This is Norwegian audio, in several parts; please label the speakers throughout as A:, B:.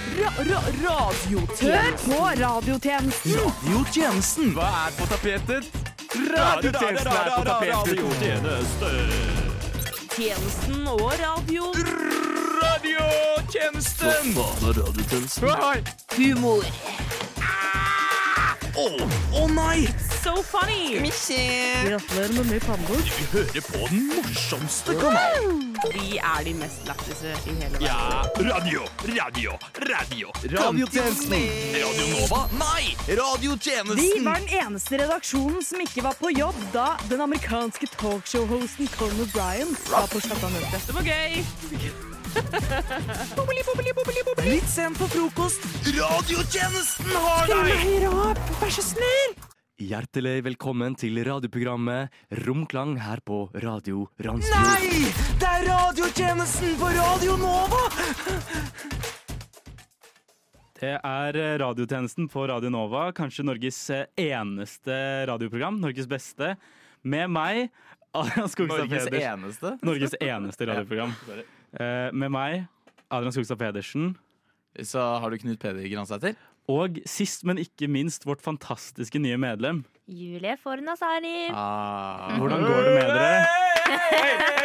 A: ra, ra, radiotjenesten.
B: Hør på radiotjenesten!
C: Radiotjenesten.
D: Hva er på tapetet?
C: Radiotjenesten er på tapetet.
D: Radiotjeneste.
A: Tjenesten og radio.
D: Radiotjenesten.
C: Faen, radiotjenesten.
D: Oi.
A: Humor.
C: Å å nei!
A: So funny.
B: Gratulerer med mye pannebord.
C: Vi hører på den morsomste kanalen.
A: Vi er de mest lættise i hele verden.
C: Ja, radio, radio, radio.
D: Radiotjenesten.
C: Radio Nova? Nei!
B: Vi
C: Radiotjenesten.
B: var den eneste redaksjonen som ikke var på jobb da den amerikanske talkshow-hosten Colin O'Brien var på skattamøte.
A: Det var gøy.
C: Litt sent på frokost. Radiotjenesten har deg!
D: Hjertelig velkommen til radioprogrammet Romklang her på Radio Randsfjord.
C: Nei! Det er radiotjenesten på Radio Nova!
E: Det er eh, radiotjenesten på Radio Nova, kanskje Norges eh, eneste radioprogram. Norges beste. Med meg, Adrian Skogstad
D: Norges
E: Pedersen.
D: eneste.
E: Norges eneste radioprogram. Eh, Med meg, Adrian Skogstad Pedersen.
D: Så har du Knut Peder Gransæter.
E: Og sist, men ikke minst, vårt fantastiske nye medlem.
F: Julie Fornasari.
D: Ah.
E: Hvordan går det med dere?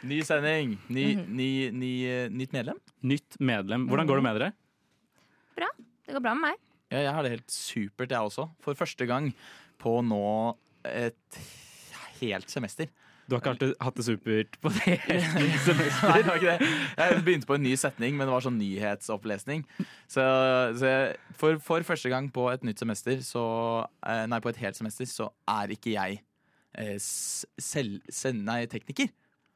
D: Ny sending. Ny, ny, ny, eh, nytt medlem.
E: Nytt medlem. Hvordan går det med dere?
F: Det går bra med meg.
D: Ja, jeg har det helt supert, jeg også. For første gang på nå et helt semester.
E: Du har ikke alltid hatt det supert på det hele
D: Nei,
E: semesteret.
D: det var ikke det. Jeg begynte på en ny setning, men det var sånn nyhetsopplesning. Så, så jeg, for, for første gang på et nytt semester, så eh, Nei, på et helt semester, så er ikke jeg eh, s- selv, sen, nei, tekniker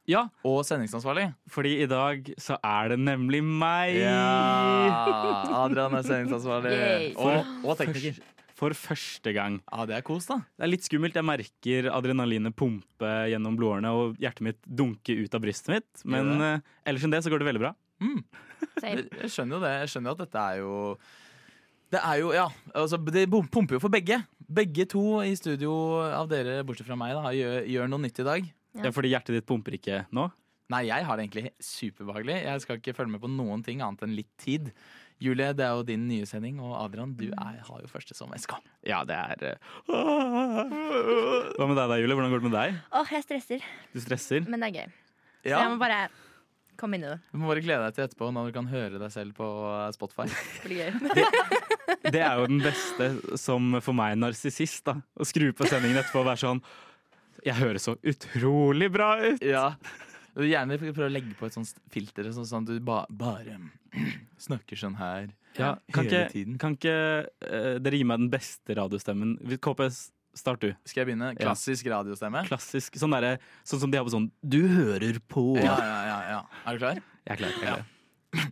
E: Ja,
D: og sendingsansvarlig.
E: fordi i dag så er det nemlig meg.
D: Ja, Adrian er sendingsansvarlig.
F: Yay.
D: Og, og tekniker.
E: For første gang.
D: Ja, det er kos, da.
E: Det er litt skummelt. Jeg merker adrenalinet pumpe gjennom blodårene og hjertet mitt dunke ut av brystet mitt. Men
D: Gjør
E: eh, ellers enn det så går det veldig bra.
F: Same.
D: Jeg jeg skjønner jo det. Jeg skjønner jo at dette er jo det er jo, ja, altså det bom- pumper jo for begge. Begge to i studio av dere, bortsett fra meg, da, gjør, gjør noe nytt i dag.
E: Ja. Fordi hjertet ditt pumper ikke nå.
D: Nei, jeg har det egentlig superbehagelig. Jeg skal ikke følge med på noen ting annet enn litt tid. Julie, det er jo din nye sending, og Adrian, du er, har jo første som SK.
E: Ja, det er eh, Hva med deg da, Julie? Hvordan går det med deg?
F: Åh, jeg stresser,
E: Du stresser.
F: men det er gøy. Så
D: Ja,
F: jeg må bare komme inn i det.
D: Du må bare glede deg til etterpå når du kan høre deg selv på eh, Spotify.
F: Det blir gøy.
E: Det er jo den beste som for meg narsissist, da. Å skru på sendingen etterpå og være sånn Jeg høres så utrolig bra ut!
D: Ja. Du vil gjerne prøve å legge på et sånt filter, sånn sånn at du ba, bare snakker sånn her
E: Ja, kan
D: hele
E: ikke,
D: tiden.
E: kan ikke eh, dere gi meg den beste radiostemmen? KPS, start du.
D: Skal jeg begynne?
E: Ja.
D: Klassisk radiostemme.
E: Klassisk. Sånn, derre- sånn som de har på sånn Du hører på!
D: Ja, ja, ja, ja. Er du klar?
E: Jeg er klar. Jeg er klar.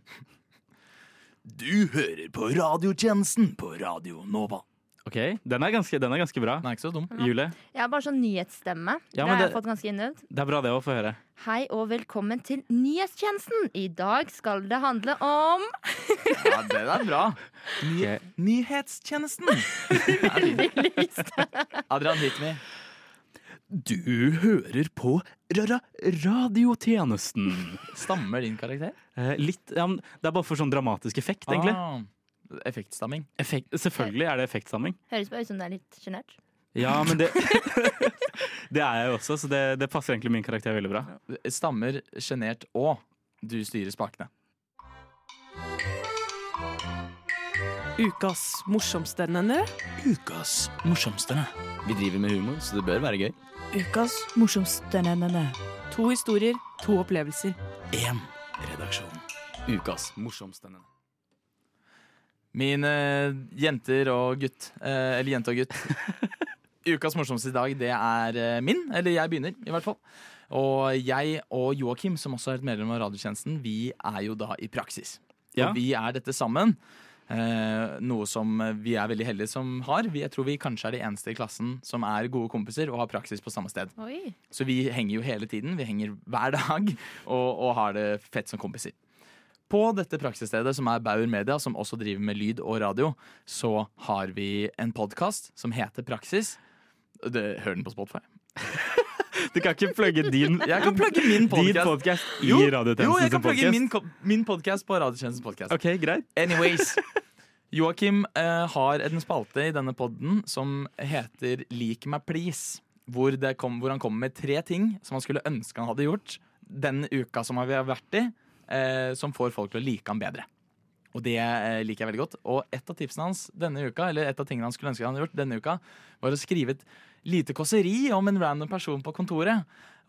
D: Du hører på radiotjenesten på Radio Nova.
E: Ok, den er ganske, den er ganske bra.
D: Den er ikke så dum.
E: Julie,
F: Jeg har bare sånn nyhetsstemme.
E: Ja,
F: det
E: men
F: har jeg
E: det-
F: fått ganske innøvd.
E: det er bra det å få høre.
F: Hei og velkommen til nyhetstjenesten. I dag skal det handle om
D: Ja, den er bra. Ny
E: Ok.
D: Nyhetstjenesten. Adrian, hit me.
E: Du hører på radiotjenesten.
D: Stammer din karakter?
E: Eh, litt, ja, men det er bare for sånn dramatisk effekt, egentlig.
D: Ah, effektstamming.
E: Effekt, selvfølgelig er det effektstamming.
F: Høres bare ut som det er litt sjenert.
E: Ja, men det Det er jeg jo også, så det, det passer egentlig min karakter veldig bra.
D: Stammer sjenert og du styrer spakene.
A: Ukas morsomstendende.
D: Ukas morsomste. Vi driver med humor, så det bør være gøy.
A: Ukas morsomstendende. To historier, to opplevelser.
D: Én redaksjon. Ukas morsomste. Mine jenter og gutt, eh, eller jente og gutt. Ukas morsomste i dag, det er eh, min. Eller jeg begynner, i hvert fall. Og jeg og Joakim, som også er et medlem av radiotjenesten, vi er jo da i praksis.
E: Ja.
D: Og vi er dette sammen. Eh, noe som vi er veldig heldige som har. Vi, jeg tror vi kanskje er de eneste i klassen som er gode kompiser og har praksis på samme sted.
F: Oi.
D: Så vi henger jo hele tiden. Vi henger hver dag og, og har det fett som kompiser. På dette praksisstedet, som er Bauer Media, som også driver med lyd og radio, så har vi en podkast som heter Praksis. Det, hør den på Spotify.
E: Du kan ikke plugge din
D: Jeg kan plugge min
E: Din
D: podcast.
E: podcast i
D: Jo,
E: Radiotjenesten
D: Jo, jeg kan
E: sin
D: plugge
E: podcast.
D: min, ko- min podcast på Radiotjenestens podcast.
E: Ok, greit.
D: Anyways. Joakim eh, har en spalte i denne podden som heter Lik meg please. Hvor, det kom, hvor han kommer med tre ting som han skulle ønske han hadde gjort den uka som vi har vært i, eh, som får folk til å like han bedre. Og det eh, liker jeg veldig godt. Og et av tipsene hans denne uka, eller et av tingene han skulle ønske han hadde gjort denne uka, var å skrive et lite kåseri om en random person på kontoret.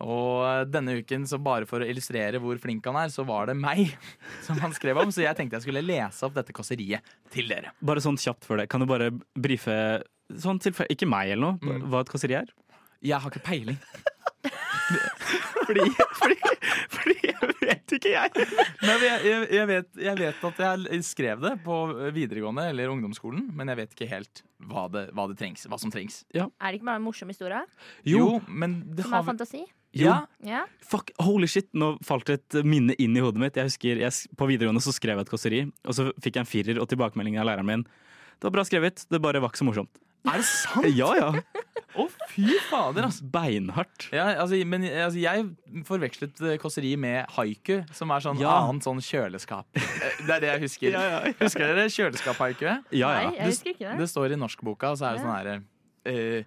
D: Og denne uken, så bare for å illustrere hvor flink han er, så var det meg som han skrev om. Så jeg tenkte jeg skulle lese opp dette kåseriet til dere.
E: Bare sånn kjapt før det. Kan du bare brife sånn tilfell- Ikke meg eller noe,
D: Mm.
E: hva et kåseri er?
D: Jeg har ikke peiling.
E: Fordi, fordi, fordi jeg vet ikke, jeg.
D: Men jeg, jeg, jeg, vet, jeg vet at jeg skrev det på videregående eller ungdomsskolen, men jeg vet ikke helt hva, det, hva, det trengs, hva som trengs.
F: Er det ikke bare en morsom historie?
D: Jo, men det
F: Som
D: har
F: er
D: vi
F: fantasi?
D: ja,
F: Ja.
E: Fuck, holy shit, nå falt et minne inn i hodet mitt. Jeg husker, jeg, s- På videregående så skrev jeg et kåseri, og så fikk jeg en firer og tilbakemelding av læreren min. Det var bra skrevet, det bare var ikke så morsomt.
D: Er det sant?
E: Ja, ja.
D: Å, fy fader, altså.
E: Beinhardt.
D: Ja, altså, men altså, jeg forvekslet eh, kåseri med haiku, som er sånn
E: Ja.
D: annet sånn kjøleskap. Eh, Det er det jeg husker.
E: Ja, ja.
D: Husker dere kjøleskap-haikuet?
E: Ja,
F: Nei,
E: ja.
F: jeg husker ikke det.
D: Det står i norskboka, og så er det
F: Ja.
D: sånn herre jeg,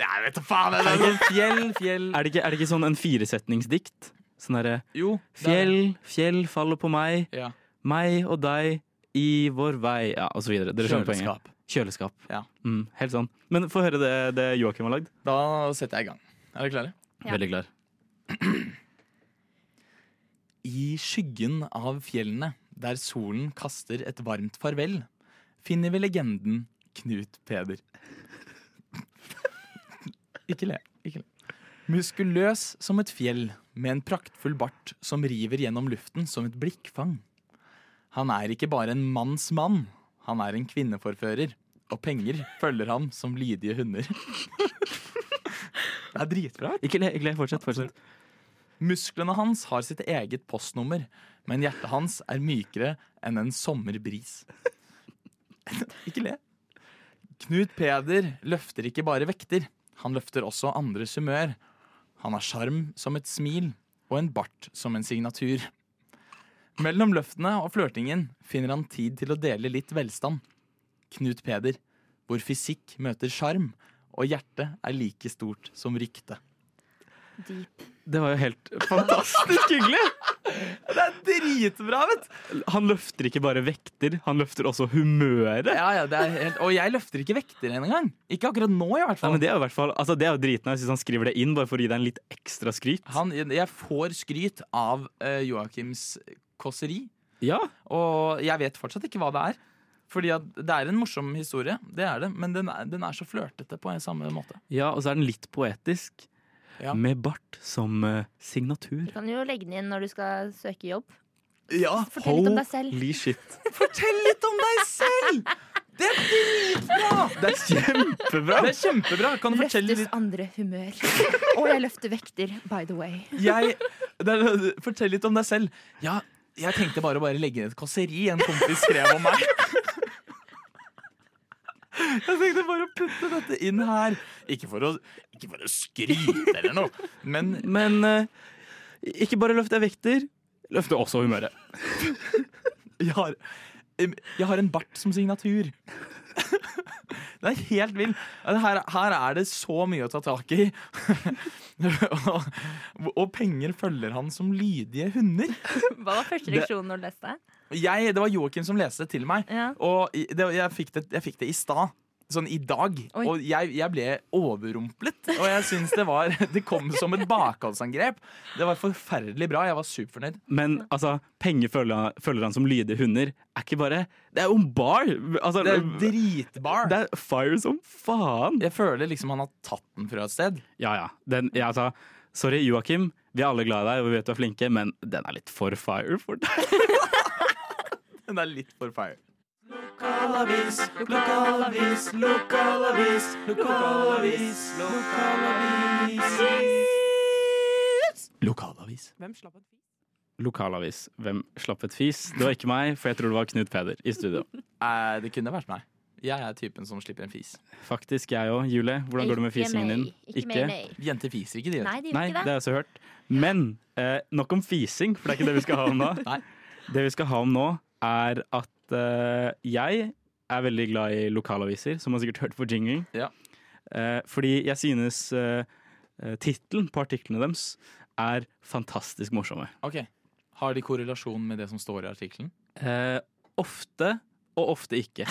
D: jeg vet da faen! Det er sånn fjell, fjell
E: Er det ikke, er det ikke sånn en firesetningsdikt? Sånn derre
D: Jo. det er det.
E: Fjell, fjell faller på meg,
D: Ja.
E: meg og deg i vår vei Ja, og så videre. Dere skjønner poenget.
D: Kjøleskap.
E: Kjøleskap.
D: Ja.
E: Mm, helt sånn. Men få høre det, det Joakim har lagd.
D: Da setter jeg i gang. Er dere klare?
F: Ja.
E: Veldig klar.
D: I skyggen av fjellene, der solen kaster et varmt farvel, finner vi legenden Knut Peder. Ikke le. Ikke le. Muskuløs som et fjell, med en praktfull bart som river gjennom luften som et blikkfang. Han er ikke bare en manns mann, han er en kvinneforfører. Og penger følger ham som lydige hunder. Det er dritbra.
E: Ikke le, ikke le. Fortsett. fortsett.
D: Musklene hans har sitt eget postnummer, men hjertet hans er mykere enn en sommerbris. ikke le. Knut Peder løfter ikke bare vekter, han løfter også andres humør. Han har sjarm som et smil og en bart som en signatur. Mellom løftene og flørtingen finner han tid til å dele litt velstand. Knut Peder, hvor fysikk møter sjarm, og hjertet er like stort som ryktet.
F: Deep.
E: Det var jo helt fantastisk hyggelig!
D: Det er dritbra, vet du!
E: Han løfter ikke bare vekter, han løfter også humøret.
D: Ja, ja, det er helt, og jeg løfter ikke vekter engang. Ikke akkurat nå, i hvert
E: Nei,
D: fall.
E: men Det er jo i hvert fall, altså det er jo dritnice hvis han skriver det inn bare for å gi deg en litt ekstra skryt.
D: Han, jeg får skryt av uh, Joakims kåseri,
E: Ja,
D: og jeg vet fortsatt ikke hva det er. Fordi at det er en morsom historie, det er det, men den er, den er så flørtete på en samme måte.
E: ja, Og så er den litt poetisk.
D: Ja.
E: Med bart som eh, signatur.
F: Du kan jo legge den inn når du skal søke jobb.
D: Ja,
F: Fortell litt om deg selv.
E: Holy shit.
D: Fortell litt om deg selv! Det er dritbra! Det er kjempebra! Det er kjempebra. Kan du fortelle
F: Løftes
D: litt
F: andre humør. Og jeg løfter vekter, by the way.
D: jeg, det er, Fortell litt om deg selv. Ja, jeg tenkte bare å bare legge ned et kåseri en kompis skrev om meg. Jeg tenkte bare å putte dette inn her. Ikke for å, ikke for å skryte eller noe, men
E: Men eh, ikke bare løfter jeg vekter, løfter også humøret.
D: jeg har, em, jeg har en bart som signatur. Det er helt vill. Her, her er det så mye å ta tak i. og, og penger følger han som lydige hunder.
F: Hva var første reaksjon når du leste?
D: Jeg, det var Joakim som leste det til meg.
F: Ja.
D: Og i- det, jeg, fikk det, jeg fikk det i stad. Sånn i dag.
F: Oi.
D: Og jeg, jeg ble overrumplet. Og jeg syns det var Det kom som et bakholdsangrep. Det var forferdelig bra. Jeg var superfornøyd.
E: Men altså, penger følger, følger han som lydige hunder, er ikke bare Det er jo en bar! Altså,
D: Det er dritbar.
E: det er fire som faen!
D: Jeg føler liksom han har tatt den fra et sted.
E: Ja, ja. Den, ja altså, sorry, Joakim. Vi er alle glad i deg, og vi vet du er flinke, men den er litt for fire for deg.
D: Den er litt for fire. Lokalavis,
A: Hvem slapp en fis?
E: Lokalavis. Hvem slapp et fis? Det var ikke meg, for jeg tror det var Knut Peder i studio.
D: lokalavis, lokalavis. Eh, det kunne vært meg. Jeg er typen som slipper en fis.
E: Faktisk jeg òg. Julie, hvordan går det med
F: Ikke
E: fisingen din?
F: meg. Ikke, meg, nei.
D: Jenter fiser ikke, de. vet du.
F: Nei, det
E: Nei, det
F: gjør ikke
E: har
F: det.
E: jeg også hørt. Men eh, nok om fising, for det er ikke det vi skal ha om nå.
D: Nei.
E: Det vi skal ha om nå, er at eh, jeg er veldig glad i lokalaviser, som man sikkert hørte på jinglen.
D: Ja.
E: Eh, fordi jeg synes uh, tittelen på artiklene deres er fantastisk morsomme.
D: Ok, Har de korrelasjon med det som står i artikkelen?
E: Eh, ofte og ofte ikke.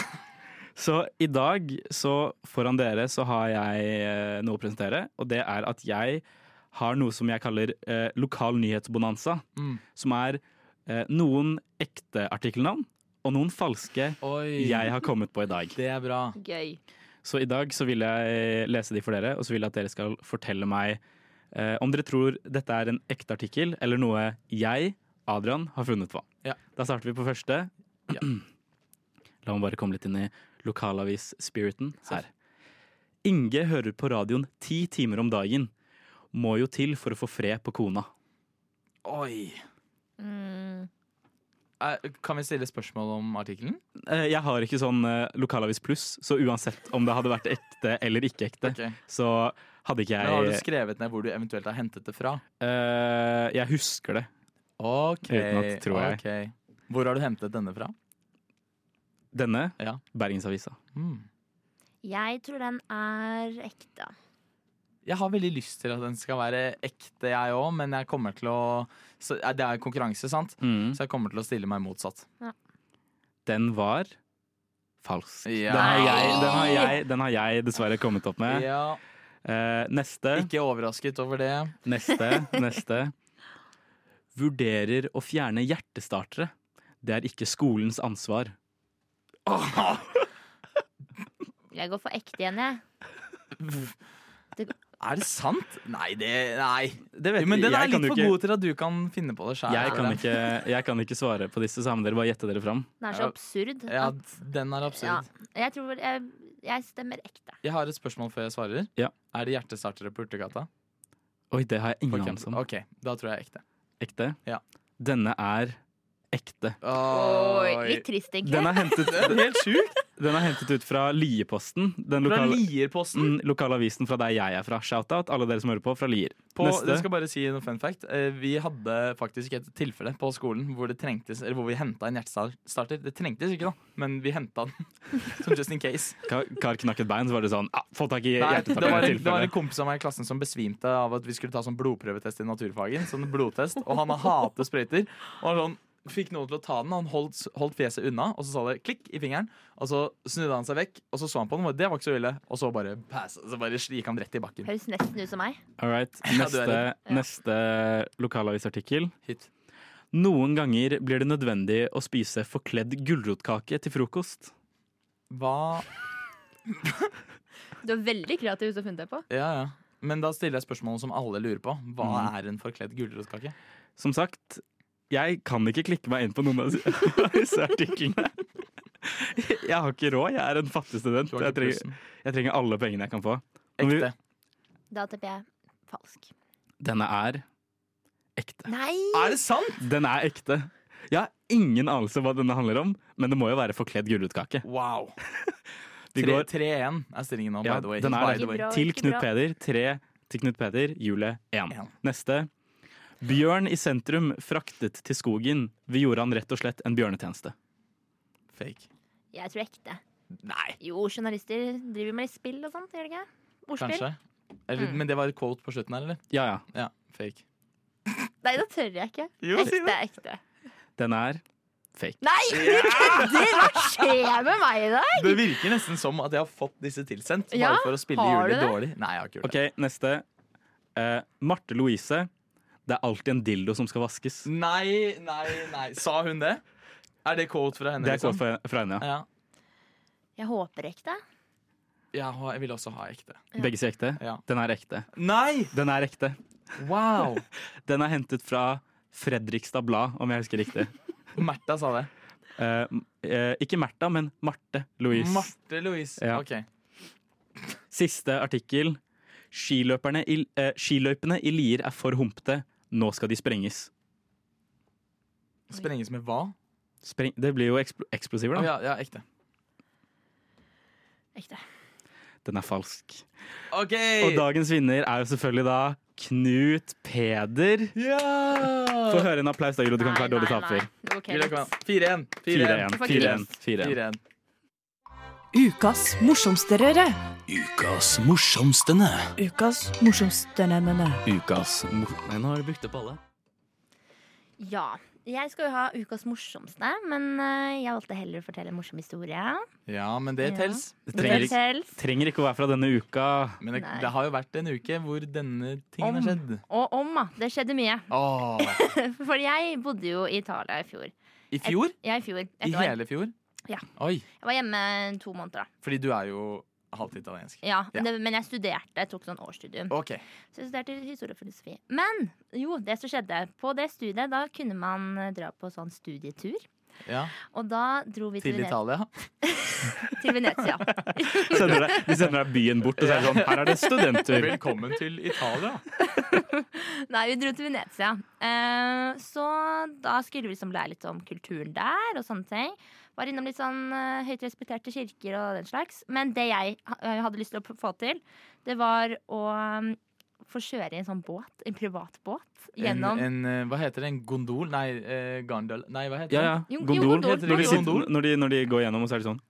E: Så i dag, så foran dere, så har jeg eh, noe å presentere. Og det er at jeg har noe som jeg kaller eh, lokal nyhetsbonanza.
D: Mm.
E: Som er eh, noen ekte artikkelnavn og noen falske
D: Oi,
E: jeg har kommet på i dag.
D: det er bra.
F: Gøy.
E: Så i dag så vil jeg eh, lese de for dere, og så vil jeg at dere skal fortelle meg eh, om dere tror dette er en ekte artikkel eller noe jeg, Adrian, har funnet på.
D: Ja.
E: Da starter vi på første.
D: Ja.
E: La meg bare komme litt inn i lokalavis-spiriten
D: Selv.
E: her. Inge hører på radioen ti timer om dagen. Må jo til for å få fred på kona.
D: Oi.
F: Mm.
D: Eh, Kan vi stille spørsmål om artikkelen?
E: Eh, Jeg har ikke sånn eh, lokalavis pluss, så uansett om det hadde vært ekte eller ikke ekte,
D: Ok.
E: så hadde ikke
D: Men Har du
E: jeg
D: skrevet ned hvor du eventuelt har hentet det fra?
E: eh, Jeg husker det.
D: Ok,
E: Uten at, tror jeg.
D: ok. Hvor har du hentet denne fra?
E: Denne?
D: Ja.
E: Bergensavisa.
D: Mm.
F: Jeg tror den er ekte.
D: Jeg har veldig lyst til at den skal være ekte, jeg òg, men jeg kommer til å så, eh, Det er konkurranse, sant? Så jeg kommer til å stille meg motsatt.
E: Den var falsk.
D: Ja.
E: Den, har jeg, den, har jeg, den har jeg dessverre kommet opp med.
D: Ja,
E: Eh, neste,
D: ikke overrasket over det.
E: neste, neste. Vurderer å fjerne hjertestartere. Det er ikke skolens ansvar.
F: Jeg går for ekte igjen, jeg.
D: Er det sant? Nei, det Nei.
E: Det
D: Jo, men den er litt
E: jeg, kan jo
D: for
E: ikke,
D: god til at du kan finne på det sjæl.
E: jeg, kan ikke, jeg kan ikke svare på disse, så her må dere bare gjette dere fram.
F: Den er
D: Ja.
F: så absurd.
D: Ja,
F: at-
D: den er
F: Ja.
D: absurd.
F: Jeg tror jeg, jeg stemmer ekte.
D: Jeg har et spørsmål før jeg svarer.
E: Ja.
D: Er det hjertestartere på Urtegata?
E: Oi, det har jeg
D: På campen?
E: ingen anelse om.
D: Ok, da tror jeg ekte.
E: Ekte?
D: Ja.
E: Denne er ekte.
F: Oi. Litt trist, egentlig.
E: Den er hentet,
D: Helt sjukt!
E: den er hentet ut fra Lieposten. Den
D: Fra
E: lokale,
D: Lierposten.
E: Mm, lokalavisen fra der jeg er fra. Shout-out alle dere som hører på fra Lier.
D: På,
E: Neste.
D: jeg skal bare si noe fun fact. Eh, Vi hadde faktisk et tilfelle på skolen hvor, det trengtes, eller hvor vi henta en hjertestarter. Det trengtes ikke, da, men vi henta den. Som just in case.
E: Kar, kar knakk et bein, så var det sånn ah, Få tak i
D: Nei, det, var en, det var en
E: hjertestarteren.
D: kompis av meg i klassen som besvimte av at vi skulle ta sånn blodprøvetest i naturfagen. Sånn blodtest, Og han hater sprøyter. Og han sånn, fikk noen til å ta den, han holdt, holdt fjeset unna, og så sa det klikk i fingeren. Og så snudde han seg vekk, og så så han på den, og det var ikke så ille. Og så bare pass, så bare gikk han rett i bakken.
F: Høres nesten ut som meg.
E: All right.
D: Ja, du er
E: Neste, neste lokalavisartikkel.
D: Hit.
E: Noen ganger blir det nødvendig å spise forkledd gulrotkake til frokost.
D: Hva
F: Du er veldig kreativ til å funne det på.
D: Ja, ja. Men da stiller jeg spørsmålet som alle lurer på. Hva
E: Mm.
D: er en forkledd gulrotkake?
E: Som sagt, jeg kan ikke klikke meg inn på noen av disse artiklene. Jeg har ikke råd. Jeg er en fattig student.
D: Du har
E: Jeg
D: ikke
E: trenger,
D: pulsen.
E: jeg trenger alle pengene jeg kan få. Nå må vi-
D: Ekte.
F: Da tipper jeg falsk.
E: Denne er ekte.
F: Nei!
D: Er det sant?!
E: Den er ekte. Jeg har ingen anelse hva denne handler om, men det må jo være forkledd gulrotkake.
D: Wow.
E: De går-
D: 3-1 er stillingen nå,
E: Ja,
D: oh, by the way.
E: den er
D: by
E: det.
D: the way.
F: Ikke bra.
E: Til Knut Peder, tre til Knut Peder, Julie én.
D: En.
E: Neste. Bjørn i sentrum fraktet til skogen. Vi gjorde han rett og slett en bjørnetjeneste.
D: Fake.
F: Jeg tror ekte.
D: Nei,
F: Jo, journalister driver med litt spill og sånt, gjør de ikke? Ordspill?
D: kanskje. Eller,
F: Mm.
D: Men det var et quote på slutten her, eller?
E: Ja, ja.
D: Ja, fake.
F: Nei, da tør jeg ikke.
D: Jo, si
F: Ekte, ekte.
E: Den er fake.
F: Nei, du kødder! Hva skjer med meg i dag?
D: Det virker nesten som at jeg har fått disse tilsendt bare
F: Ja,
D: for å spille
F: har
D: Julie
F: du det?
D: dårlig. Nei, jeg har ikke gjort
E: OK, neste. Eh, Marte Louise. Det er alltid en dildo som skal vaskes.
D: det. Nei, nei, nei. Sa hun det? Er det quote fra henne?
E: Det er
D: liksom?
E: kåt fra fra henne, ja.
D: Ja.
F: Jeg håper ekte.
D: Jeg, har, jeg vil også ha ekte.
E: Begge sier ekte.
D: Ja.
E: Den er ekte.
D: Nei!
E: Den er ekte.
D: Wow!
E: Den er hentet fra Fredrikstad Blad, om jeg husker riktig.
D: Märtha sa det.
E: Eh, eh, ikke Märtha, men Marte Louise.
D: Marte Louise.
E: Ja.
D: Ok.
E: Siste artikkel. Skiløperne i, eh, skiløypene i Lier er for humpete. Nå skal de sprenges.
D: Sprenges med hva?
E: Spreng, det blir jo ekspl- eksplosiver,
D: Å,
E: da.
D: ja, ja, ekte.
F: Ekte.
E: Den er falsk.
D: OK!
E: Og dagens vinner er jo selvfølgelig da Knut Peder. Få høre en applaus, da, Julo. Du kan ikke være dårlig taper.
F: Ok,
D: Julia
F: litt.
D: Kvam. 4-1. 4-1.
E: 4-1.
F: får
E: 4-1, 4-1.
D: 4-1.
A: Ukas morsomsterere.
C: Ukas morsomstene.
A: Ukas morsomsternene.
C: Ukas mor... Nei, nå har du brukt opp alle.
F: Ja. Jeg skal jo ha ukas morsomste, men eh, jeg valgte heller å fortelle en morsom historie.
D: Ja, men det
F: Ja.
D: tels.
E: Det trenger, ikke-
F: Selv.
E: trenger ikke å være fra denne uka.
D: Men det,
F: Nei.
D: det har jo vært en uke hvor denne tingen
F: Om.
D: har skjedd.
F: Og om, da. Det skjedde mye.
D: Åh.
F: For jeg bodde jo i Italia i fjor.
D: I fjor?
F: Ja, i fjor.
D: I
F: Et år.
D: hele fjor?
F: Ja.
D: Oi.
F: Jeg var hjemme to måneder, da.
D: Fordi du er jo halvt italiensk.
F: Ja,
D: Ja.
F: Det, men jeg studerte. Jeg tok sånn årsstudium.
D: OK.
F: Så jeg studerte historie og filosofi. Men jo, det som skjedde på det studiet, da kunne man eh, dra på sånn studietur.
D: Ja.
F: Og da dro vi til,
D: Til
F: Venet
D: Italia.
F: til Venezia.
E: Sender deg, de sender deg byen bort og sier sånn Her er det studenter.
D: Velkommen til Italia.
F: Nei, vi dro til Venezia. Eh, så da skulle vi liksom lære litt om kulturen der og sånne ting. Var innom litt sånn eh, høyt respekterte kirker og den slags. Men det jeg ha- eh, hadde lyst til å p- få til, det var å mm, få kjøre i en sånn båt, en privat båt,
D: En,
F: gjennom
D: en, eh, hva heter det? En gondol? Nei, eh, gandal... Nei, hva heter
E: Ja,
D: det?
E: ja.
F: Jo, jo,
E: Gondol.
F: gondol.
E: Når, de
D: Gondol.
E: sitter, når, de, når de går gjennom, og så er det sånn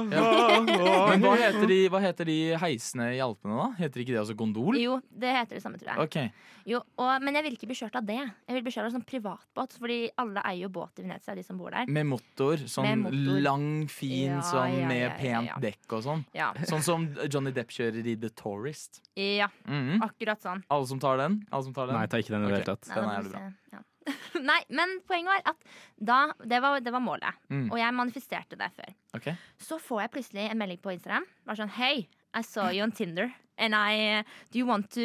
D: Men hva heter, de, hva heter de heisene i Alpene, da? Heter ikke det også gondol?
F: Jo, det heter det samme, tror jeg.
D: OK.
F: Jo, og, men jeg vil ikke bli kjørt av det. Jeg vil bli kjørt av en sånn privatbåt, fordi alle eier jo båt i Venezia, de som bor der.
D: Med motor. Sånn
F: Med motor.
D: lang, fin,
F: Ja,
D: sånn
F: ja,
D: med
F: ja, ja, ja.
D: pent dekk og sånn.
F: Ja,
D: Sånn som Johnny Depp kjører i The Tourist.
F: ja
D: Mhm.
F: akkurat sånn.
D: Alle som tar den? Alle som tar den?
E: Nei, ta ikke den i det
D: Ok.
E: hele tatt.
D: Den
F: da
D: er
F: får
D: jævlig
F: vi se. Ja. Nei, men poenget var at da, det, var, det var målet,
D: Mm.
F: og jeg manifesterte det før.
D: Ok.
F: Så får jeg plutselig en melding på Instagram. Bare sånn Hei, I saw you on Tinder. And I Do you want to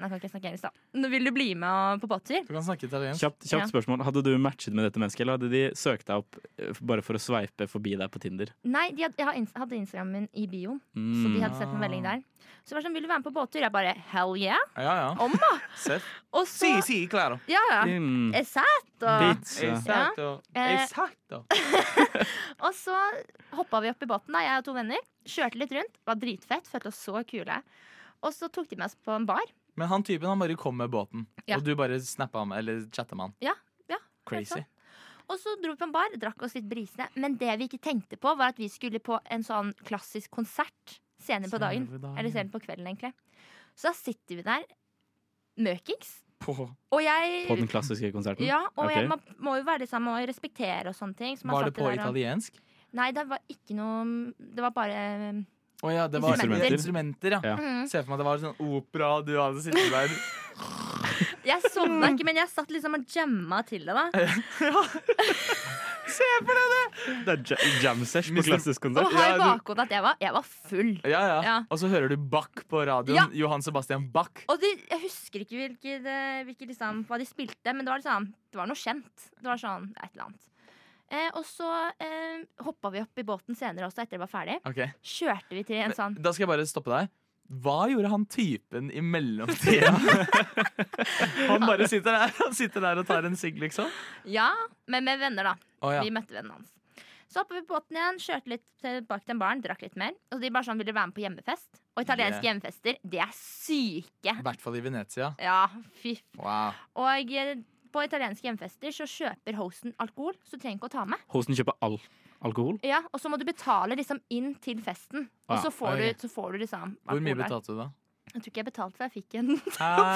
F: Nei, kan ikke jeg snakke engelsk, da. Nå vil du bli med og- på båttur?
D: Du kan snakke italiensk.
E: Kjapt,
F: Ja.
E: kjapt spørsmål. Hadde du matchet med dette mennesket, eller hadde de søkt deg opp eh, bare for å sveipe forbi deg på Tinder?
F: Nei, de hadde, jeg har ins- hadde Instagramen min i bioen, så de
E: Mm.
F: hadde sett en melding der. Så det var sånn Vil du være med på båttur? Jeg bare Hell yeah.
D: Ja, ja.
F: Om, da!
D: Sett.
F: Og så
D: si, claro.
F: Ja, ja.
E: Mm.
F: Er sæt og
E: Pizza.
D: Esatto.
F: Eh,
D: Esatto.
F: Og så hoppa vi opp i båten, da, jeg og to venner. Kjørte litt rundt. Var dritfett. Følte oss så kule. Og så tok de med oss på en bar.
D: Men han typen han bare kom med båten,
F: Ja.
D: og du bare snappa ham, eller chatta med han.
F: Ja, ja,
D: Crazy.
F: sant. Og så dro vi på en bar, drakk oss litt brisene. Men det vi ikke tenkte på, var at vi skulle på en sånn klassisk konsert senere på dagen.
D: Senere på dagen.
F: Eller senere på kvelden, egentlig. Så da sitter vi der møkings.
D: På-
F: Og jeg
E: På den klassiske konserten?
F: Ja, og
E: Ok.
F: jeg, man må jo være liksom, må jo respektere og sånne ting. så man
D: Var
F: satt
D: det på
F: der og-
D: italiensk?
F: Nei, det var ikke noe Det var bare
D: Å ja, det var
F: Instrumenter.
D: instrumenter. instrumenter ja.
E: Ja.
F: mm.
D: Se for meg at det var sånn opera, du hadde sittet der.
F: Jeg sovna ikke, men jeg satt liksom og jamma til det. da
E: Det er ja- jam sesh på
D: Mister-
E: klassisk
F: Og
E: konsert.
F: ha
D: Ja,
F: i
D: du-
F: bakhodet at jeg var, jeg var full.
D: Ja, ja.
F: Ja.
D: Og så hører du Bach på radioen.
F: Ja.
D: Johan Sebastian Bach.
F: Og de, jeg husker ikke hvilket, eh, hvilket liksom, hva de spilte, men det var, liksom, det var noe kjent. Det var sånn et eller annet. Eh, og så eh, hoppa vi opp i båten senere også, etter det var ferdig.
D: Ok,
F: Kjørte vi til en sånn
D: Da skal jeg bare stoppe deg. Hva gjorde han typen i mellomtida? han bare sitter der, han sitter der og tar en sigg, liksom.
F: Ja, men med venner, da.
D: Å ja.
F: Vi møtte vennen hans. Så hoppa vi på båten igjen, kjørte litt tilbake til baren, drakk litt mer. Og de bare sånn ville være med på hjemmefest. Og italienske
D: Yeah.
F: hjemmefester, de er syke.
D: I hvert fall i Venezia.
F: Ja, fy
D: Wow.
F: Og eh, på italienske hjemfester så kjøper hosten alkohol, så du trenger ikke å ta med.
E: Hosten kjøper all alkohol.
F: Ja, Og så må du betale liksom inn til festen. Og
E: Ah,
F: så får,
D: ok.
F: du, så får du liksom
D: Hvor
F: alkohol.
D: mye
F: der.
D: betalte du, da?
F: Jeg tror ikke jeg betalte før jeg fikk en.
D: Hei,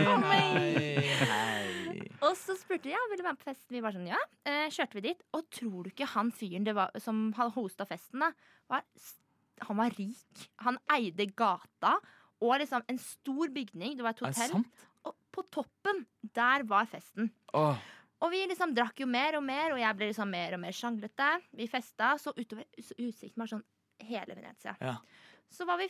F: for meg!
D: hei, hei.
F: og så spurte de ja, vil du være med på festen. Vi var sånn ja. Eh, kjørte vi dit. Og tror du ikke han fyren det var, som hadde hosta festen, da, var, s- han var rik. Han eide gata og liksom en stor bygning. Det var et
D: Er det
F: hotell.
D: sant?
F: Og på toppen, der var festen.
D: Åh,
F: Og vi liksom drakk jo mer og mer, og jeg ble liksom mer og mer sjanglete. Vi festa, så utover så utsikten var sånn hele Venezia.
D: Ja.
F: Så var vi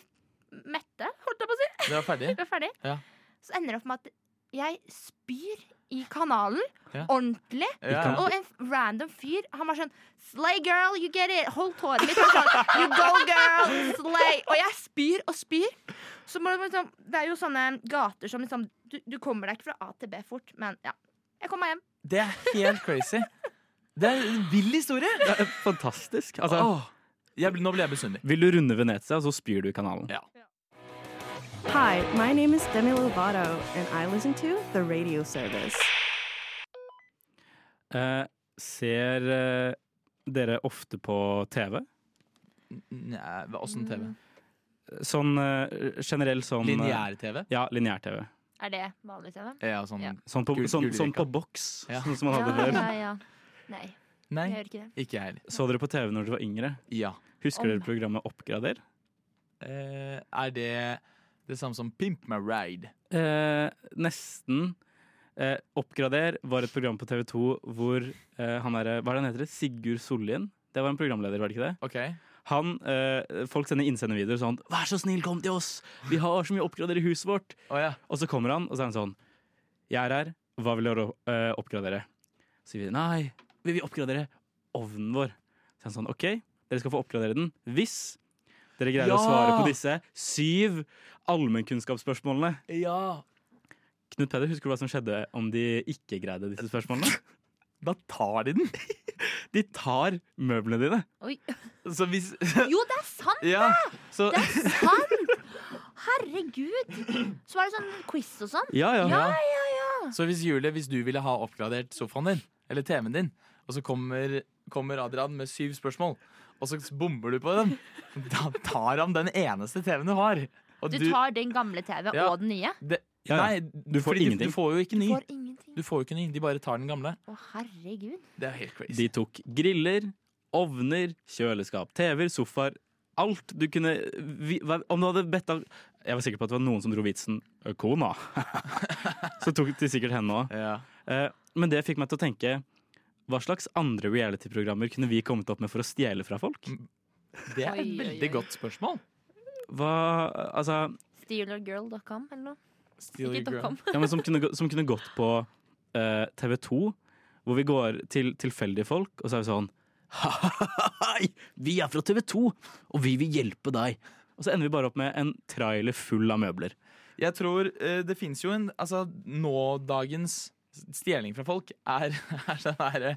F: mette, holdt jeg på å si.
D: dere er ferdig?
F: Vi var ferdig.
D: Ja.
F: Så ender det opp med at jeg spyr i kanalen.
D: Ja.
F: Ordentlig.
D: Ja,
E: kan-
D: ja.
F: Og en random fyr, han var sånn Slay girl, you get it! Holdt håret mitt. Han var sånn, you go girl, slay! Og jeg spyr og spyr. Så må du liksom, det er jo sånne gater som liksom du, du kommer deg ikke fra A til B fort, men ja. Jeg kom meg hjem.
D: Det er helt crazy. Det er en vill historie.
E: Det er fantastisk. Altså,
D: Åh, Jeg, blir- nå blir jeg misunnelig.
E: Vil du runde Venezia, så spyr du i kanalen.
D: Ja.
G: Hi, my name is Demi Lovato, and I listen to the radio service.
E: Eh, ser eh, dere ofte på TV?
D: Nei, hva-
F: Mm.
D: Åssen TV?
E: Sånn eh, generell sånn eh,
D: Lineær-TV?
E: Ja, lineær-TV.
F: Er det vanlig TV?
D: Ja, sånn
F: Ja.
E: Sånn på,
D: Gul-
E: sånn,
D: gul
E: sånn på
D: rekka.
E: boks,
D: Ja.
E: sånn som man
F: Ja,
E: hadde før.
F: ja, ja. Nei,
D: Nei,
F: jeg gjør ikke det.
D: ikke jeg heller.
E: Så dere på TV når dere var yngre?
D: Ja.
E: Husker
F: Om.
E: dere programmet Oppgrader?
D: Eh, er det det samme som Pimp my ride?
E: Eh, nesten. Eh, Oppgrader var et program på TV 2 hvor eh, han derre Hva er det han heter? Sigurd Sollien? Det var en programleder, var det ikke det?
D: OK.
E: Han, eh, Folk sender innsendervideoer sånn 'Vær så snill, kom til oss! Vi har så mye oppgrader i huset vårt!'
D: Å ja.
E: Og så kommer han, og så er han sånn 'Jeg er her. Hva vil dere eh, oppgradere?' Så sier vi 'Nei, vi vil oppgradere ovnen vår'. Så er han sånn 'OK, dere skal få oppgradere den hvis dere greier
D: Ja!
E: å svare på disse syv allmennkunnskapsspørsmålene'.
D: Ja.
E: Knut Peder, husker du hva som skjedde om de ikke greide disse spørsmålene?
D: Da tar de den!
E: De tar møblene dine.
F: Oi.
D: Så hvis
F: Jo, det er sant!
D: Ja, så
F: Det er sant! Herregud. Så var det sånn quiz og sånn.
E: Ja, ja.
F: Ja, ja, ja.
D: Så hvis Julie, hvis du ville ha oppgradert sofaen din, eller TV-en din, og så kommer, kommer Adrian med syv spørsmål, og så bomber du på dem, da tar han den eneste TV-en du har. Og
F: Du tar den gamle TV
D: Ja.
F: og den nye.
D: det,
E: Ja, ja.
D: Nei,
E: Du får
D: fordi
E: ingenting.
D: Du får jo ikke ny.
F: Får ingenting.
D: Du får jo ikke ny, de bare tar den gamle.
F: Å, herregud.
D: Det er helt
E: De
D: crazy.
E: tok griller, ovner, kjøleskap, TV-er, sofaer. Alt du kunne vi, hva- Om du hadde bedt av Jeg var sikker på at det var noen som dro vitsen «Ø, kona. Så tok de sikkert henne òg.
D: Ja.
E: Men det fikk meg til å tenke hva slags andre reality-programmer kunne vi kommet opp med for å stjele fra folk?
D: Det er et
F: Oi, oi,
D: veldig
F: oi.
D: godt spørsmål.
E: Hva, altså,
F: Stealergirl.com eller noe.
D: Steal
F: Ikke
D: your
F: .com.
D: girl.
E: ja, men som, kunne, gå- som kunne gått på eh, TV 2, hvor vi går til tilfeldige folk, og så er vi sånn Hei, vi er fra TV 2, og vi vil hjelpe deg. Og så ender vi bare opp med en trailer full av møbler.
D: Jeg tror eh, det finnes jo en Altså, nådagens stjeling fra folk er, er den derre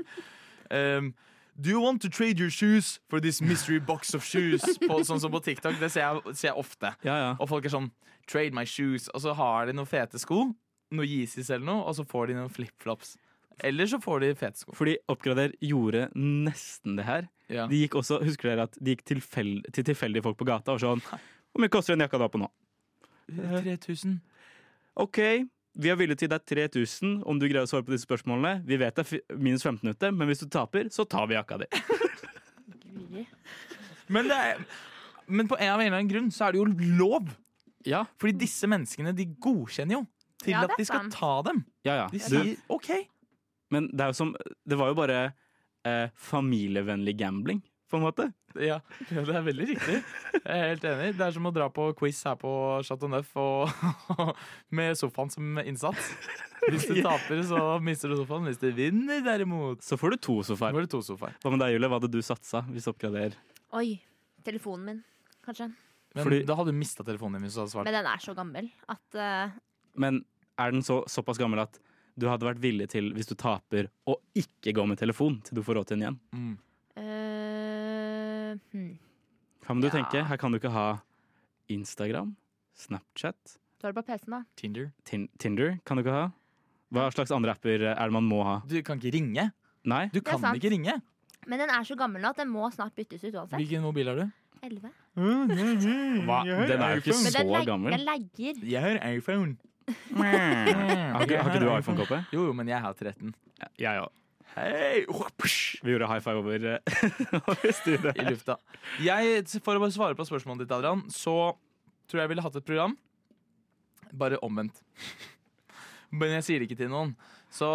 D: ehm, Do you want to trade your shoes for this mystery box of shoes? På, sånn som på TikTok. Det ser jeg, ser jeg ofte.
E: Ja, ja.
D: Og folk er sånn Trade my shoes. Og så har de noen fete sko, noe Yeezys eller noe, og så får de noen flipflops. Eller så får de fete sko.
E: Fordi Oppgrader gjorde nesten det her.
D: Ja.
E: De gikk også, Husker dere at de gikk tilfell, til tilfeldige folk på gata og sånn Hvor mye koster en jakka du har på nå?
D: 3000.
E: OK, vi er villige til deg 3000 om du greier å svare på disse spørsmålene. Vi vet det er fi- minus 15 ute, men hvis du taper, så tar vi jakka di.
F: Guri.
D: Men, det er, men på en av en eller annen grunn så er det jo lov.
E: Ja,
D: Fordi disse menneskene de godkjenner jo til
F: Ja, det
D: at
F: er
D: de skal
F: sant.
D: ta dem.
E: ja, ja.
D: De
E: Du,
D: sier OK.
E: Men det, er jo som, det var jo bare eh, familievennlig gambling, på en måte.
D: Ja, ja, det er veldig riktig. Jeg er helt enig. Det er som å dra på quiz her på Chateau Neuf og med sofaen som innsats. Hvis du taper, så mister du sofaen. Hvis du vinner, derimot,
E: Så får du to
D: så
E: sofaer.
D: får du to sofaer.
E: Hva med deg, Julie? Hva hadde du satsa hvis oppgrader?
F: Oi. Telefonen min, kanskje.
D: Men
E: Fordi-
D: da hadde du mista telefonen din hvis du hadde svart.
F: Men den er så gammel at eh,
E: Men er den så, såpass gammel at du hadde vært villig til, hvis du taper, å ikke gå med telefon til du får råd til den igjen?
D: Mm.
F: øh, hmm.
E: Hva må du
F: Ja.
E: tenke? Her kan du ikke ha Instagram, Snapchat,
F: Du har det på PC-en, da.
D: Tinder.
E: tin Tinder kan du ikke ha. Hva slags andre apper er det man må ha?
D: Du kan ikke ringe.
E: Nei?
D: Du
F: er
D: kan
F: sant.
D: ikke ringe.
F: Men den er så gammel nå at den må snart byttes ut uansett.
D: Hvilken mobil har du?
F: 11.
E: Hva? Den er jo ikke
F: Men
E: så
F: den, lag-
E: gammel.
F: den lagger.
D: Jeg har iPhone.
E: Har ikke, har ikke du iPhone-kåpe?
D: Jo, jo, men jeg har 13.
E: Jeg òg.
D: Hei!
E: Oh,
D: Hopsj!
E: Vi gjorde high five over, eh, over studiet.
D: I lufta. Jeg, for å bare svare på spørsmålet ditt, Adrian, så tror jeg ville hatt et program. Bare omvendt. Men jeg sier det ikke til noen. Så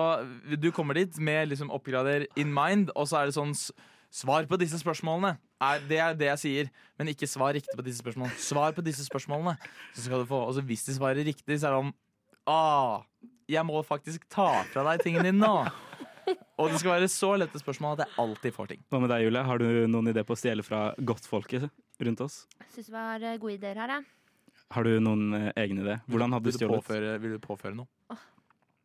D: du kommer dit med liksom oppgrader in mind, og så er det sånn s- Svar på disse spørsmålene! Er det er det jeg sier. Men ikke svar riktig på disse spørsmålene. Svar på disse spørsmålene, så skal du få. Og så hvis de svarer riktig, så er det om Ah, jeg må faktisk ta fra deg tingene dine nå! Og det skal være så lette spørsmål at jeg alltid får ting.
E: Hva med deg, Julie? Har du noen idé på å stjele fra godtfolket rundt oss?
F: Syns det var eh, gode ideer her, jeg.
E: Har du noen eh, egen idé? Hvordan hadde du
D: Vil du,
E: stjålet?
D: påføre, vil du påføre noe?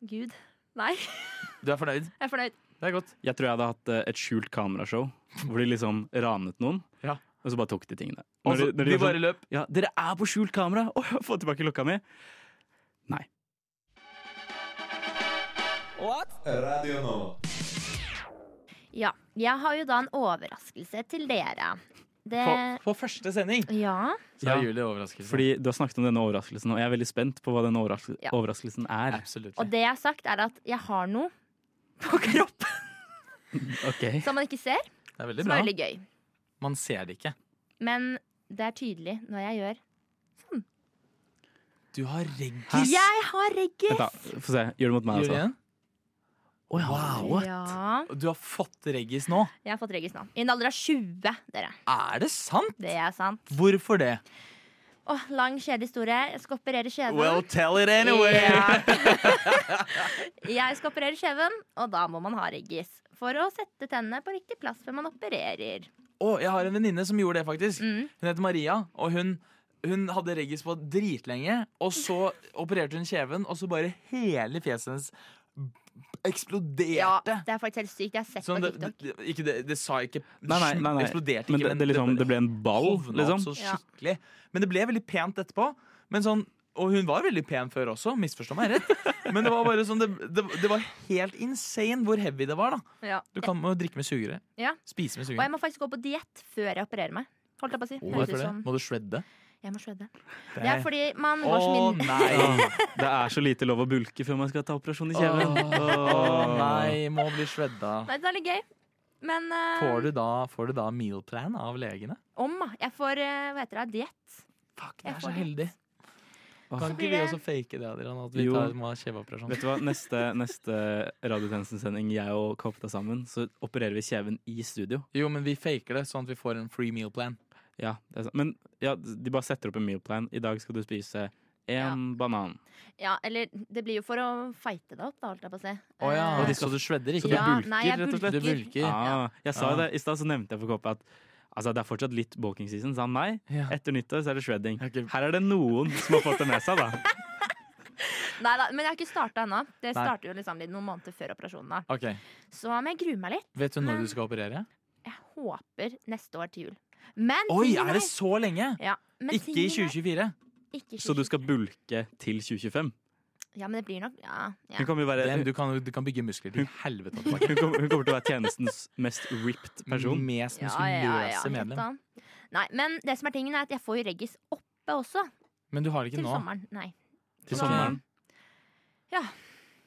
F: Gud. Nei, jeg
D: Du er fornøyd?
F: er fornøyd.
D: Det er godt.
E: Jeg tror jeg hadde hatt eh, et skjult kamerashow hvor de liksom ranet noen.
D: Ja.
E: Og så bare tok de tingene. Når
D: Altså,
E: de, når
D: de
E: de var
D: bare
E: sånn,
D: løp.
E: ja, 'Dere er på skjult kamera! Åh, få tilbake klokka mi!' Nei.
F: Ja, jeg har jo da en overraskelse til dere. Det
D: På, på første sending
F: Ja.
D: så er
E: Ja.
D: Julie overrasket.
E: Fordi du har snakket om denne overraskelsen, og jeg er veldig spent på hva denne overras-
F: Ja.
E: overraskelsen er.
D: Absolutt.
F: Og det jeg har sagt, er at jeg har noe på kroppen
E: Ok.
F: som man ikke ser.
D: Det er veldig
F: Som
D: bra.
F: er veldig gøy.
D: Man ser det ikke.
F: Men det er tydelig når jeg gjør
D: Du har reggis.
F: Jeg har reggis!
E: Vent, da. Få se. Gjør det mot meg,
D: Gjør det
E: altså.
D: igjen? Wow.
F: Ja,
D: Du har fått reggis nå.
F: jeg har fått reggis nå. I en alder av 20, dere.
D: Er det sant?
F: Det er sant.
D: Hvorfor det?
F: Åh, lang kjedehistorie. Jeg skal operere kjeven.
D: Well, tell it anyway.
F: Ja. jeg skal operere kjeven, og da må man ha reggis. For å sette tennene på riktig plass før man opererer.
D: Å, jeg har en venninne som gjorde det, faktisk.
F: Mm.
D: Hun heter Maria, og hun, hun hadde reggis på dritlenge. Og så opererte hun kjeven, og så bare hele fjeset hennes
F: Ja,
D: eksploderte.
F: det er faktisk helt sykt. Jeg har sett
D: Sånn,
F: på
D: det,
F: TikTok.
D: det, ikke det, det sa ikke
E: Nei, nei, nei, nei.
D: Eksploderte ikke,
E: Men det, det, liksom, det ble en ball,
D: hovna opp
E: liksom.
D: så
F: Ja.
D: skikkelig. Men det ble veldig pent etterpå. Men sånn, og hun var veldig pen før også, misforstå meg rett. Men det var bare sånn, det, det, det var helt insane hvor heavy det var. da
F: Ja.
D: Du kan må drikke med sugere.
F: Ja.
D: Spise med
F: Og jeg
D: sugere.
F: må faktisk gå på diett før jeg opererer meg. Holdt jeg på å si.
D: Å,
F: Høres
D: hvorfor
F: ut
D: det?
F: som-
D: Må du shredde?
F: Jeg må shredde. Det er fordi man
D: Å
F: går så mye
D: nei!
E: Det er så lite lov å bulke før man skal ta operasjon i kjeven.
D: Å nei, må bli shredda.
F: Nei, det er litt gøy. Men eh,
D: Får du da, får du da meal plan av legene?
F: om, da. Jeg får eh, hva heter det, diett.
D: Fuck,
F: Jeg
D: det er
F: får
D: så
F: det.
D: heldig. Kan
F: Så
D: ikke
F: blir
D: vi
F: det-
D: også fake det, Adrian? At vi
E: Jo.
D: tar må ha kjeveoperasjon?
E: Vet du hva, neste, neste radiotjenesten-sending jeg og Kopta sammen, så opererer vi kjeven i studio.
D: Jo, men vi faker det, sånn at vi får en free meal plan.
E: Ja, det er sant. Men ja, de bare setter opp en meal plan. I dag skal du spise en
F: Ja.
E: banan.
F: Ja, eller det blir jo for å fighte det opp, da, holdt jeg på å si.
D: Å ja,
F: Eh,
D: Så du shredder
E: Så
D: ikke?
E: du
F: ja,
E: bulker,
F: nei, jeg
E: rett og slett?
D: Du bulker.
E: Ah, jeg sa
D: Ja.
E: det, I stad så nevnte jeg for Koppa at altså, det er fortsatt litt bulking season. Sa han nei?
D: Ja.
E: Etter nyttår så er det shredding.
D: Jeg har ikke-
E: Her er det noen som har fått det med seg, da.
F: Nei da, men jeg har ikke starta ennå. Det
D: Nei.
F: starter jo liksom litt noen måneder før operasjonen. da
D: Ok,
F: Så men jeg gruer meg litt.
D: Vet du når
F: Men-
D: du skal operere?
F: Jeg håper neste år til jul. Men
D: Oi,
F: tingen
D: er det så lenge?
F: ja, men
D: Ikke i
F: tingen er-
D: 2024.
F: Ikke i
E: Så du skal
F: 2024.
E: bulke til 2025?
F: Ja, men det blir nok Ja.
E: Hun
F: ja.
E: kommer, jo være,
D: Den,
E: hun,
D: du, kan, du kan bygge muskler til helvete. og tilbake.
E: hun kommer, hun kommer til å være tjenestens mest ripped person.
D: Mest
F: Ja, ja, ja,
D: muskuløse
F: helt
D: medlem.
F: annet. Nei, men det som er tingen, er at jeg får jo reggis oppe også.
D: Men du har det
F: Til
D: ikke nå.
F: sommeren. Nei.
E: Til
F: Nå-
E: sommeren.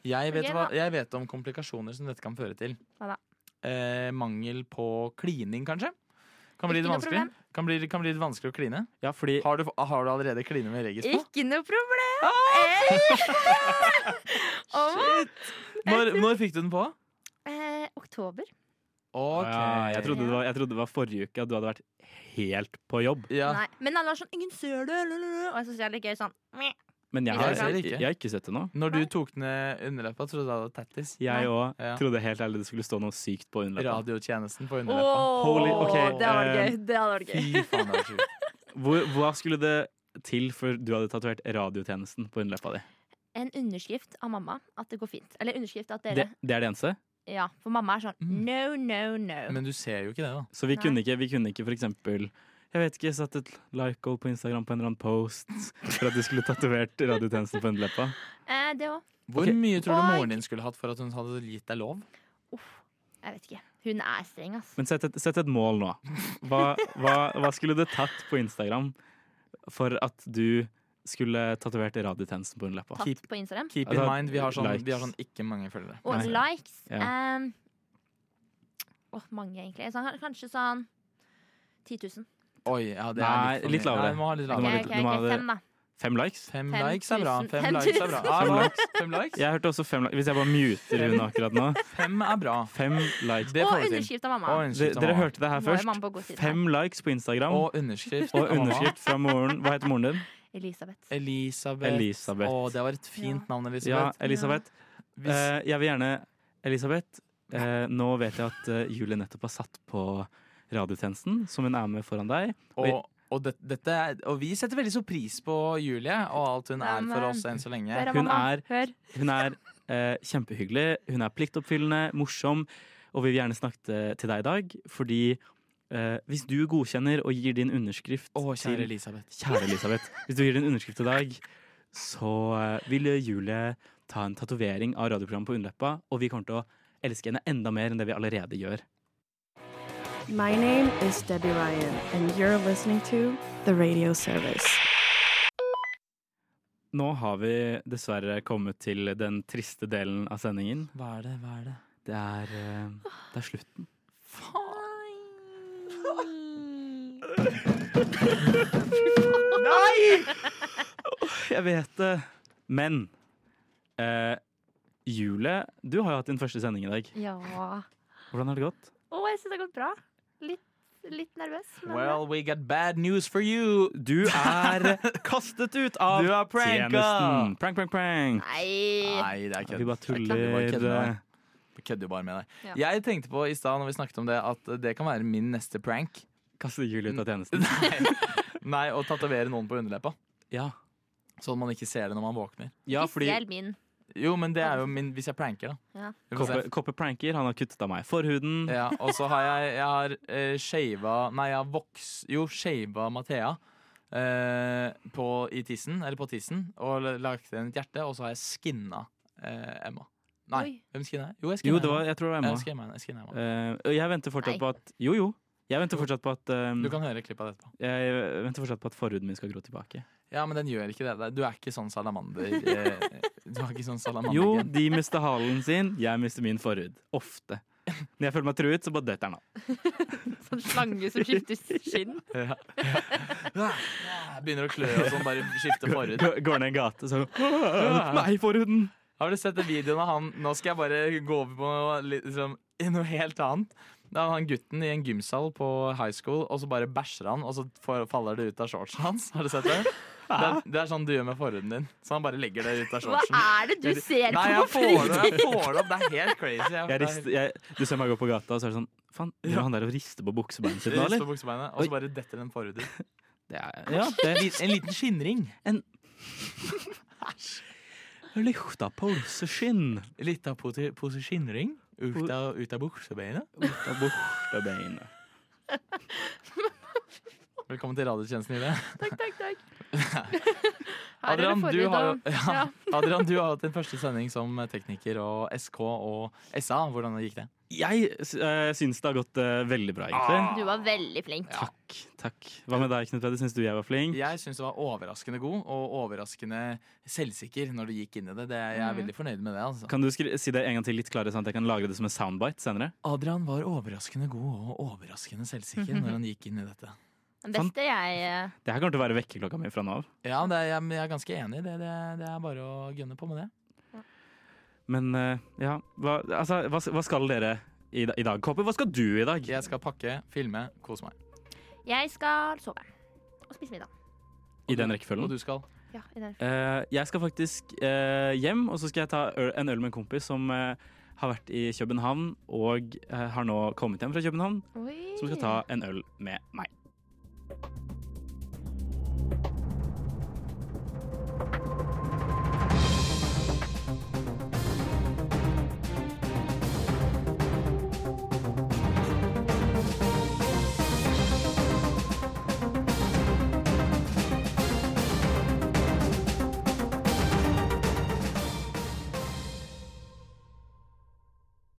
D: Jeg vet,
F: Ok,
D: hva,
F: da.
D: jeg vet om komplikasjoner som dette kan føre til.
F: Hva da?
D: Eh, mangel på klining, kanskje. Kan bli,
F: Ikke
D: litt
F: noe
D: vanskelig. Kan, bli, kan bli litt vanskelig å kline.
E: Ja, fordi
D: Har du, har du allerede klinet med Regis på? Ah!
F: Ikke noe problem! Eh. Åh,
D: Når, når fikk du den på?
F: eh, oktober.
D: Ok.
E: ja, jeg, trodde det var, jeg trodde det var forrige uke at du hadde vært helt på jobb.
D: Ja.
F: Nei. Men alle var sånn 'Ingen ser det!' lalalala», Og så sier jeg litt gøy sånn «Meh».
E: Men jeg
F: Jeg
E: har,
D: ser det
E: jeg,
D: ikke.
E: har ikke sett det nå.
D: Når du tok ned underleppa, trodde jeg det var tattis.
F: Nei.
E: Jeg òg
D: Ja.
E: trodde helt ærlig det skulle stå noe sykt på underleppa.
D: Radiotjenesten på underleppa.
F: Åh,
E: Holy- ok,
F: Det hadde vært
E: eh,
F: gøy. Det hadde vært gøy.
D: Fy faen, det var sjukt.
E: Hvor, hva skulle det til før du hadde tatovert radiotjenesten på underleppa di?
F: En underskrift av mamma at det går fint. Eller underskrift at
E: Det,
F: dere
E: det er det eneste.
F: Ja, for mamma er sånn
D: Mm.
F: no, no, no.
D: Men du ser jo ikke det, da.
E: Så vi
F: Nei.
E: kunne ikke, vi kunne ikke for eksempel jeg vet ikke, satt et like-all på Instagram på en eller annen post for at du skulle tatovert radiotjenesten på underleppa.
F: Eh, det òg.
D: Hvor
E: Ok.
D: mye tror du
F: Oi.
D: moren din skulle hatt for at hun hadde gitt deg lov?
F: Uff. Jeg vet ikke. Hun er streng, ass.
E: Men sett et, sett et mål nå. Hva, hva, hva skulle det tatt på Instagram for at du skulle tatovert radiotjenesten på underleppa?
F: Tatt på Instagram.
D: Keep in
E: Altså,
D: mind, vi har sånn,
E: likes.
D: vi har sånn ikke mange følgere.
F: Og
E: Nei.
F: likes.
E: Ja.
F: ehm, Åh, mange, egentlig. Sånn, kanskje sånn 10 000.
D: Oi, ja, det er
E: Nei,
D: litt, for
E: litt
D: mye.
E: lavere.
D: Nei, vi må ha litt
E: Du
F: Ok,
E: må
D: lavere.
E: ha
F: ok,
E: litt- du må ha
F: ok,
E: det-
F: fem, da.
E: Fem likes?
D: Fem
F: Fem
D: likes er bra.
F: tusen.
D: Fem
F: Fem
D: likes er bra. Ja,
E: tusen.
D: hva? Fem likes?
E: Jeg hørte også fem likes. Hvis jeg bare muter hun akkurat nå.
D: Fem er bra.
E: Fem likes.
D: Det får du
F: Og
D: til.
F: underskrift av mamma.
D: Og
E: Dere,
D: underskrift. av
E: dere
D: mamma.
E: hørte det her
F: Nå er mamma
E: først.
F: på god side
E: Fem likes på Instagram og,
D: Og underskrift. av mamma.
E: underskrift fra moren. Hva heter moren din?
F: Elisabeth.
D: Elisabeth.
E: Elisabeth.
D: Å, det var et fint navn,
E: Ja,
D: Elisabeth.
E: Elisabeth.
D: Hvis-
E: Eh, jeg vil gjerne Elisabeth, eh, nå vet jeg at eh, Julie nettopp har satt på radiotjenesten, som hun er med foran deg.
D: og, og, det, dette er, og vi setter veldig så pris på Julie og alt hun er
F: Nei,
D: for
F: men-
D: oss enn så lenge.
F: Hør,
E: Hun
F: mamma.
E: er-
F: Hør.
E: Hun er eh, kjempehyggelig, hun er pliktoppfyllende, morsom, og vi vil gjerne snakke til deg i dag, fordi eh, Hvis du godkjenner og gir din underskrift
D: Å, kjære
E: til
D: Elisabeth.
E: Kjære Elisabeth, hvis du gir din underskrift i dag, så eh, vil Julie ta en tatovering av radioprogrammet på underleppa, og vi kommer til å elske henne enda mer enn det vi allerede gjør.
G: My name is Debbie Ryan, and you're listening to The Radio Service.
E: Nå har vi dessverre kommet til den triste delen av sendingen.
D: Hva er det? Hva er det?
E: Det er, eh, det er slutten. Jeg vet det. Men eh, Julie, du har jo hatt din første sending i dag.
F: Ja.
E: Hvordan har det gått?
F: Å, jeg syns det har gått bra. Litt, litt nervøs. Men
D: Well, we got bad news for you.
E: Du er kastet ut av
D: Du er pranka!
E: tjenesten. Prank, prank, prank.
F: Nei.
D: Nei, det er kødd.
E: Vi
D: Det
E: bare
D: er kødd. Vi bare kødder med deg.
E: tuller. Eh,
D: Vi kødder jo bare med deg.
F: Ja.
D: Jeg tenkte på i stad når vi snakket om det, at det kan være min neste prank.
E: Kaste Julie ut av tjenesten.
D: Nei, å tatovere noen på underleppa.
E: Ja,
D: Sånn at man ikke ser det når man våkner.
E: ja
F: Ikke
E: fordi
F: stjel min.
D: Jo, men det er jo min hvis jeg pranker, da.
F: Ja.
D: Vi får se.
E: Koppe, Koppe pranker, han har kuttet av meg forhuden.
D: Ja, og så har jeg, jeg har eh, shava Nei, jeg har voks... Jo, shava Mathea. eh, på, I tissen, eller på tissen, og l- lagt igjen et hjerte, og så har jeg skinna eh, Emma. Nei,
F: Oi.
D: hvem skinna jeg? Jo, jeg skinna
E: Jo, det var, jeg tror det var
D: Emma.
E: Emma.
D: Jeg skinna, jeg skinna Emma.
E: Eh, og jeg venter fortsatt
F: Nei.
E: på at Jo, jo. Jeg venter fortsatt på at eh,
D: Du kan høre klipp av det etterpå.
E: Jeg venter fortsatt på at forhuden min skal gro tilbake.
D: Ja, men den gjør ikke det. Det- Du er ikke sånn salamander. eh, Du har ikke sånn salamander.
E: Jo, de mister halen sin, jeg mister min forhud. Ofte. Når jeg føler meg truet, så bare detter den av.
F: Sånn slange som skifter skinn.
D: Begynner å klø og sånn, bare skifte forhud.
E: Går- Går ned en gate, så Nei, forhuden!
D: Har du sett den videoen av han Nå skal jeg bare gå over på noe, liksom, i noe helt annet. Da er han gutten i en gymsal på high school, og så bare bæsjer han, og så får- faller det ut av shortsen hans. Har du sett det? Det er, det er sånn du gjør med forhuden din. Så han bare legger det ut av
F: Hva
D: shortsen.
F: er det du ser
D: Sånn Nei,
F: på
D: jeg
F: på
D: får det,
F: fritid?
D: jeg får det opp. Det er helt crazy. Jeg,
E: Jeg rister, jeg, du ser meg gå på gata, og så er det sånn Faen, gjør han der og rister på buksebeinet sitt
D: jeg
E: nå,
D: rister
E: eller?
D: på buksebeinet, og så bare detter den forhud ut.
E: Det er, ja, det
D: En liten- En liten skinnring.
E: er lukta pølseskinn.
D: Litt av pose, pose skinnring ut av, ut av buksebeinet.
E: Lukta bortebeinet.
D: Velkommen til radiotjenesten, Ida.
F: Takk, takk, takk. Her er det
D: Adrian du,
F: forhud
D: har,
F: og-
D: jo- ja. Adrian, du har hatt din første sending som tekniker og SK og SA. Hvordan gikk det?
E: Jeg uh, syns det har gått eh, veldig bra,
D: Ah,
E: egentlig.
F: Du var veldig flink.
E: Takk. takk. Hva med deg, Knut Peder? Syns du jeg var flink?
D: Jeg syns det var overraskende god og overraskende selvsikker når du gikk inn i det. det jeg er veldig fornøyd med det. altså.
E: Kan du skri si det en gang til litt klarere, sånn at jeg kan lagre det som en soundbite senere?
D: Adrian var overraskende god og overraskende selvsikker når han gikk inn i dette.
F: Den beste jeg eh,
E: Det her kommer til å være vekkerklokka mi fra nå av.
D: Ja, det er, jeg, jeg er ganske enig i det. Det, det er bare å gunne på med det.
E: Men eh, ja, hva, altså, hva, hva skal dere i, da- i dag? Kåpe, hva skal du i dag?
D: Jeg skal pakke, filme, kose meg.
F: Jeg skal sove. Og spise middag.
E: I den
D: Og
E: rekkefølgen?
D: du skal?
F: Ja, i den.
E: Eh, jeg skal faktisk eh, hjem, og så skal jeg ta øl, en øl med en kompis som eh, har vært i København og eh, har nå kommet hjem fra København,
F: Oi.
E: som skal ta en øl med meg.